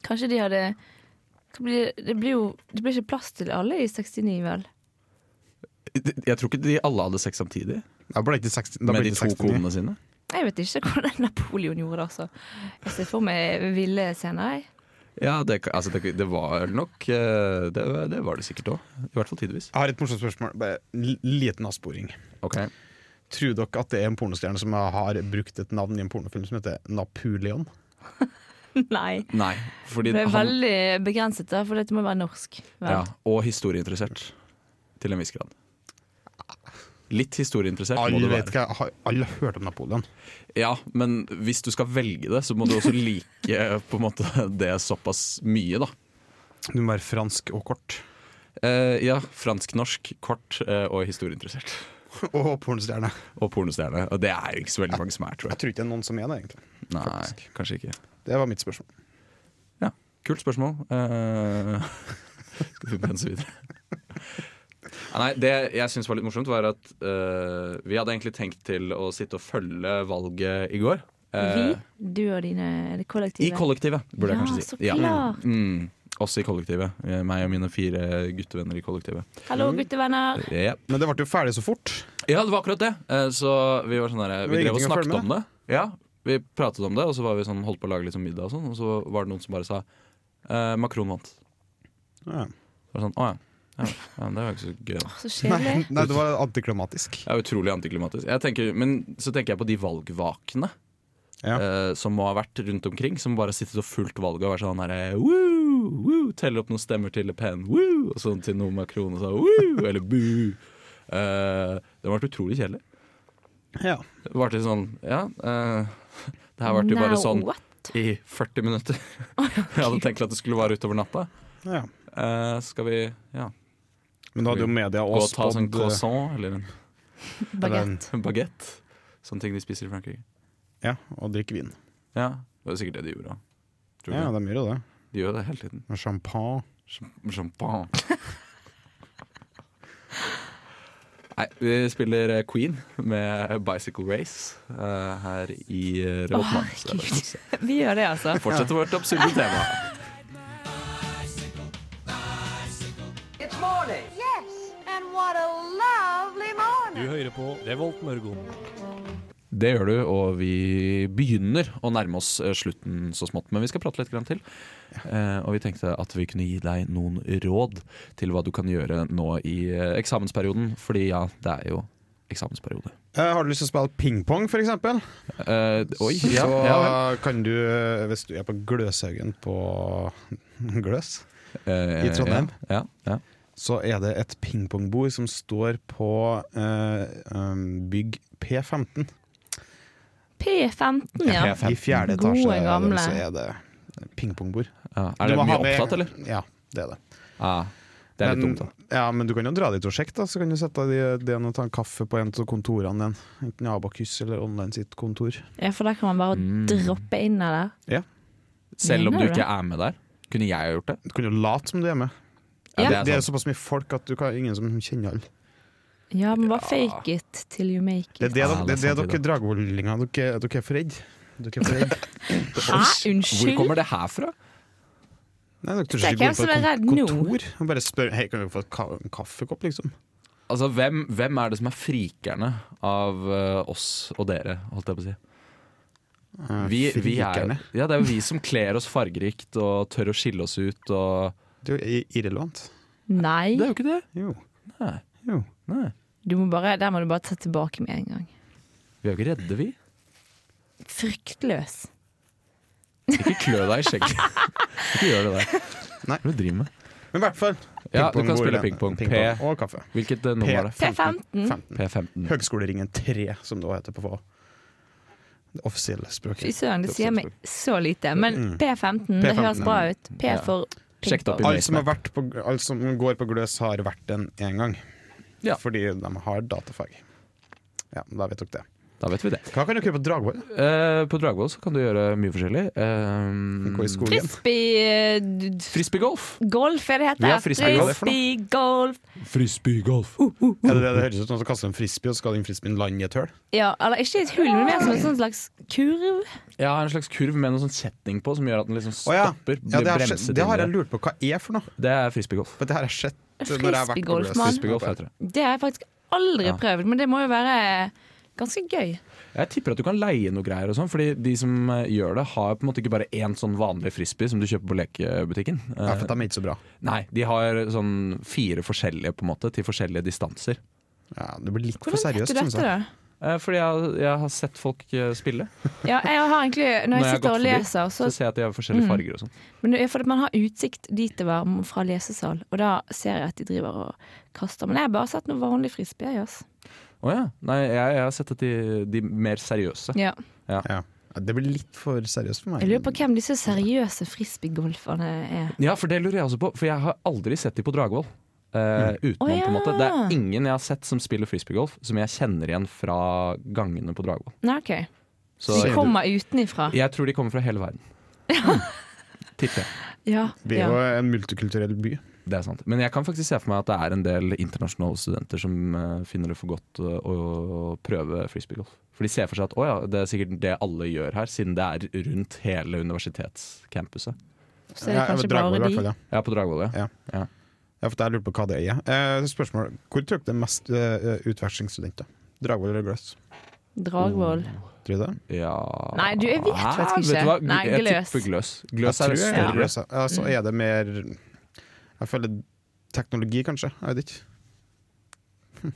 S4: Kanskje de hadde hva blir- det blir jo det blir ikke plass til alle i 69, vel?
S2: Jeg tror ikke de alle hadde sex samtidig
S3: Da ble det ikke 60, da ble
S2: med
S3: det
S2: de
S3: ikke
S2: to
S3: 69.
S2: konene sine.
S4: Jeg vet ikke hvordan Napoleon gjorde det. altså. Jeg ser for meg ville scener. jeg.
S2: Ja, det, ka- altså, det, det var nok eh, Det, det var det sikkert òg. I hvert fall tidvis.
S3: Jeg har et morsomt spørsmål. Bare en l- liten avsporing.
S2: Okay.
S3: Tror dere at det er en pornostjerne som har brukt et navn i en pornofilm som heter Napoleon?
S4: Nei.
S2: Nei, fordi
S4: Det er
S2: han
S4: veldig begrenset, da, for dette må være norsk. vel?
S2: Ja, og historieinteressert. Til en viss grad. Litt historieinteressert må du
S3: Alle vet
S2: være.
S3: hva, har, alle har hørt om Napoleon.
S2: Ja, men hvis du skal velge det, så må du også like eh, på en måte, det såpass mye, da.
S3: Du må være fransk og kort.
S2: Eh, ja, fransk-norsk, kort eh, og historieinteressert.
S3: Og pornostjerne.
S2: Og pornostjerne. Og det er jo ikke så veldig mange som er, tror
S3: Jeg
S2: jeg.
S3: tror ikke det er noen som er det, egentlig.
S2: Nei, kanskje ikke.
S3: Det var mitt spørsmål.
S2: Ja, kult spørsmål. Eh, skal vi pense videre? Ja, Nei, Det jeg syns var litt morsomt, var at eh, vi hadde egentlig tenkt til å sitte og følge valget i går. Eh,
S4: Vi, du og dine er det kollektive.
S2: I kollektivet, burde jeg
S4: Ja,
S2: kanskje si.
S4: så klart.
S2: Mm, også i kollektivet. Eh, Meg og mine fire guttevenner i kollektivet.
S4: Hallo, guttevenner.
S2: Ja,
S3: Men det ble jo ferdig så fort.
S2: Ja, det var akkurat det. Eh, Så vi var sånn der,
S3: Det var
S2: Vi drev og
S3: ingenting å følge
S2: snakket om det. Ja, vi pratet om det, og så var vi sånn, holdt på å lage litt sånn middag, og sånn Og så var det noen som bare sa eh, Macron vant.
S3: Ja.
S2: Det var sånn, å ja. Ja, ja, det var ikke så gøy. da."
S4: Så
S3: Nei,
S4: kjedelig.
S3: nei, det var antiklimatisk.
S2: Det er utrolig antiklimatisk. Jeg tenker, men så tenker jeg på de valgvakene
S3: Ja.
S2: eh, som må ha vært rundt omkring. Som bare har sittet og fulgt valget og vært sånn herre woo, woo, telle opp noen stemmer til Le Pen, woo, og sånn til noen Macron og sånn, woo, eller boo. Eh, det har vært utrolig kjedelig.
S3: Ja.
S2: Det har vært litt sånn, ja, eh, det her vært jo bare
S4: Now
S2: sånn
S4: what?
S2: i 40 minutter. Jeg hadde tenkt at det skulle vare utover natta.
S3: ja.
S2: Eh, skal vi ja,
S3: Men da hadde jo media
S2: gå og
S3: også
S2: ta oss en
S3: spådd-
S2: croissant eller en,
S4: Bagett.
S2: en bagett? Sånne ting de spiser i Frankrike.
S3: Ja, og drikke vin.
S2: Ja, Det var sikkert det de gjorde òg.
S3: Ja, de gjør jo det.
S2: De gjør det hele tiden.
S3: Og champagne.
S2: Champ- Champagne. Nei, vi spiller eh, Queen med Bicycle Race eh, her i eh, Revoltmann. Så det er bare å se.
S4: Vi gjør det, altså.
S2: Fortsetter vårt absurde tema.
S6: It's morning. Yes, and what a lovely
S7: Du
S6: morning.
S7: hører på Revolt Mørgon.
S2: Det gjør du, og vi begynner å nærme oss eh, slutten så smått. Men vi skal prate litt grann til. Eh, og vi tenkte at vi kunne gi deg noen råd til hva du kan gjøre nå i eh, eksamensperioden. Fordi ja, det er jo eksamensperiode.
S3: Eh, har du lyst til å spille pingpong, for eksempel?
S2: Eh, oi, ja,
S3: så
S2: ja vel.
S3: kan du, eh, hvis du er på Gløshaugen på Gløs,
S2: Eh,
S3: I Trondheim?
S2: Ja, ja,
S3: så er det et pingpongbord som står på eh, um, bygg P15.
S4: P15,
S2: ja.
S4: ja.
S2: P15.
S3: I fjerde
S4: Gode
S3: etasje er det-
S4: gamle.
S3: så er det pingpongbord.
S2: ja. Er
S3: Du
S2: det
S3: må
S2: mye
S3: ha med-
S2: opptatt, eller?
S3: Ja, det er det.
S2: Ja, det er litt
S3: Men-
S2: dumt, da.
S3: Ja, men du kan jo dra dit og sjekke, da. Så kan du sette deg i den og ta en kaffe på en av kontorene din. Enten i Abakus eller online sitt kontor.
S4: ja. For der kan man bare
S2: Mm.
S4: droppe inn av det.
S2: Selv om du
S4: Mener du
S2: ikke
S4: det?
S2: er med der. Kunne jeg ha gjort det?
S3: Du kan jo late som du er med.
S4: Ja.
S2: det
S3: Det
S2: er
S3: er
S2: sant.
S3: såpass mye folk at du kan ingen som kjenner alle.
S4: Ja, men bare fake it till you make
S3: Det
S4: it.
S3: er det,
S2: Ja,
S3: dere- det, er det
S2: sant,
S3: dere dragvollinger dere, dere er for redde. Dere er for redde.
S4: Hæ,
S2: Hvor
S4: unnskyld?
S2: kommer det her fra?
S3: Nei, dere tør
S4: Det er
S3: ikke gå
S4: hvem
S3: inn på
S4: som
S3: et
S4: er redd
S3: kon-
S4: nå.
S3: kontor og bare spørre Hei, kan vi få et ka en kaffekopp, liksom.
S2: Altså, hvem, hvem er det som er frikerne av eh, oss og dere, holdt jeg på å si?
S3: Eh,
S2: Vi, vi er,
S3: frikerne.
S2: ja, det er jo vi som kler oss fargerikt og tør å skille oss ut og
S3: Det er jo i- irrelevant.
S4: Nei,
S2: Det er jo ikke det.
S3: Jo.
S2: Nei.
S3: jo.
S2: Nei.
S4: du må bare, der må du bare ta tilbake med en gang.
S2: Vi er jo ikke redde, vi.
S4: Fryktløs.
S2: Ikke klø deg i skjegget. ikke gjør det der. Hva
S3: Nei.
S2: er det du driver med?
S3: Men i hvert fall.
S2: Ja, du
S3: pingpong
S2: kan
S3: hvor
S2: spille
S3: den-
S2: pingpong. P-
S3: Og kaffe.
S2: Hvilket eh, nummer er det?
S4: P15.
S3: 15.
S2: P15.
S3: Høgskoleringen 3, som det også heter på FA. Det offisielle
S4: Fy
S3: språket.
S4: søren, det sier meg så lite. Men P15, det
S3: P15,
S4: høres bra ut. P
S2: Ja.
S4: for
S2: Sjekk det opp i
S4: pingpong.
S3: Alle som, har vært på, alle som går på Gløs, har vært den én gang.
S2: Ja.
S3: Fordi de har datafag. Ja, da vet dere det.
S2: Da vet vi det.
S3: Hva kan dere gjøre på Dragvoll?
S2: Eh, på Dragvoll så kan du gjøre mye forskjellig.
S3: Gå i
S2: Uh,
S3: skogen?
S4: Frisbee eh, d- d-
S2: Frisbeegolf.
S4: Golf er det
S2: Vi har
S4: heter.
S2: frisbeegolf.
S4: Frisbeegolf.
S2: Frisbeegolf.
S3: Er det det det høres ut som? Noen som kaster en frisbee, og så skal den frisbeen lande i et høl?
S4: Ja, eller ikke et hull, men mer som en sånn slags kurv.
S2: Ja, en slags kurv med noen sånn kjetting på som gjør at den liksom
S3: Å ja.
S2: stopper.
S3: Ja, det,
S2: blir
S3: har,
S2: bremset
S3: det
S2: inn i
S3: har jeg
S2: det.
S3: lurt på hva er for noe.
S2: Det er frisbeegolf.
S3: For det her har jeg sett
S4: En
S3: når jeg har vært på
S4: frisbeegolf,
S3: Gløs.
S4: mann.
S2: Frisbeegolf heter det.
S4: Det har jeg faktisk aldri
S2: Ja.
S4: prøvd, men det må jo være ganske gøy.
S2: Jeg tipper at du kan leie noe greier og sånn, fordi de som eh, gjør det, har på en måte ikke bare én sånn vanlig frisbee som du kjøper på lekebutikken. Eh,
S3: Ja, for de er ikke så bra.
S2: Nei, de har sånn fire forskjellige på en måte, til forskjellige distanser.
S3: Ja, det blir litt for
S4: Hvordan vet
S3: seriøst,
S4: du
S3: syns
S4: dette,
S3: jeg.
S4: da?
S2: Eh, Fordi jeg, jeg har sett folk eh, spille.
S4: Ja, jeg har egentlig,
S2: har
S4: når jeg
S2: gått
S4: sitter og
S2: forbi,
S4: leser, så Mm.
S2: så ser jeg at de har forskjellige farger og sånn.
S4: Men det er fordi at man har utsikt dit det var m- fra lesesal, og da ser jeg at de driver og kaster. Men jeg har bare sett noe vanlig frisbee. jeg, ass.
S2: Å ja. Nei, jeg, jeg har sett at de, de mer seriøse
S4: Ja.
S3: Ja. Ja, det blir litt for seriøst for meg.
S4: Jeg lurer på hvem disse seriøse frisbeegolferne er.
S2: Ja, for det lurer jeg også på, for jeg har aldri sett de på Dragvoll. eh,
S3: Mm.
S2: utenom,
S4: Å,
S2: på en måte. Det
S4: ja.
S2: er ingen jeg har sett som spiller frisbeegolf, som jeg kjenner igjen fra gangene på Dragvoll.
S4: Nei, ok.
S2: Så
S4: Så de kommer utenifra.
S2: Jeg tror de kommer fra hele verden. Tipper jeg.
S4: Ja,
S3: Vi er jo
S4: ja.
S3: en multikulturell by.
S2: Det er sant. Men jeg kan faktisk se for meg at det er en del internasjonale studenter som eh, finner det for godt eh, å prøve frisbeegolf. For de ser for seg at å ja, det er sikkert det alle gjør her, siden det er rundt hele universitetscampuset.
S4: Så er det
S3: Ja,
S4: kanskje
S3: Dragvoll i
S4: bare
S3: hvert fall,
S4: de.
S3: ja.
S2: Ja, på Dragvoll, ja.
S3: Ja, for jeg lurer på hva det er. Eh, spørsmål. Hvor tror dere det er mest eh, utvekslingsstudenter? Dragvoll eller Gløs?
S4: Dragvoll.
S3: Tror du det?
S2: ja.
S4: Nei, du, jeg vet faktisk
S2: Vet du
S4: ikke.
S2: hva?
S4: Nei,
S2: Jeg
S4: gløs.
S2: tipper gløs.
S3: Jeg
S2: Gløs
S3: tror
S2: er
S3: jeg
S2: større.
S3: Gløs, ja. Ja,
S4: Mm.
S3: så er det mer Jeg føler teknologi, kanskje. Jeg vet ikke.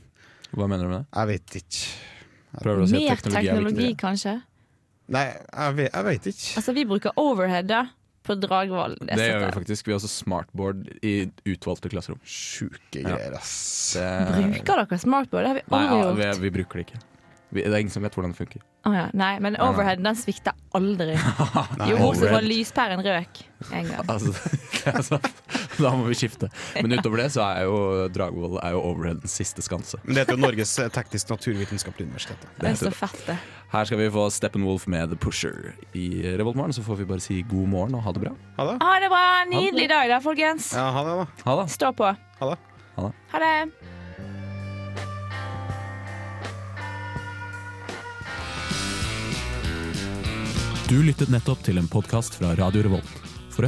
S2: Hva mener du med det?
S3: Jeg vet ikke.
S2: Prøver du å si
S4: Mer
S2: at teknologi er viktig?
S4: teknologi, kanskje.
S3: Nei, jeg vet, jeg vet ikke.
S4: Altså, vi bruker overhead, da. på Dragvoll.
S2: Det gjør vi faktisk. Vi har også smartboard i utvalgte klasserom.
S3: Sjuke greier, ass.
S2: Det,
S4: Bruker dere smartboard? Det har vi
S2: Nei,
S4: aldri
S2: ja,
S4: gjort.
S2: vi, vi bruker det ikke. Vi, det er ingen som vet hvordan det funker.
S4: Å ja, nei, men
S2: nei.
S4: overheaden den svikter aldri.
S3: Nei,
S4: jo, bortsett fra
S2: overhead.
S4: lyspæren røk en gang.
S2: Altså, det er sant. Da må vi skifte. Men utover det så er jo Dragvoll er jo overheadens siste skanse.
S3: Men det heter jo Norges eh, teknisk naturvitenskapelige universitet. da.
S4: Det er så
S2: heter det.
S4: fett, det.
S2: Her skal vi få Steppenwolf med The Pusher i Revoltmorgen. Så får vi bare si god morgen og ha det bra.
S3: Ha det.
S4: Ha det bra! Nydelig dag da, folkens.
S3: Ja, ha det, da.
S2: Ha det.
S4: Stå på.
S3: Ha det.
S4: Ha det.
S8: Du lyttet nettopp til en podkast fra Radio Revolt. For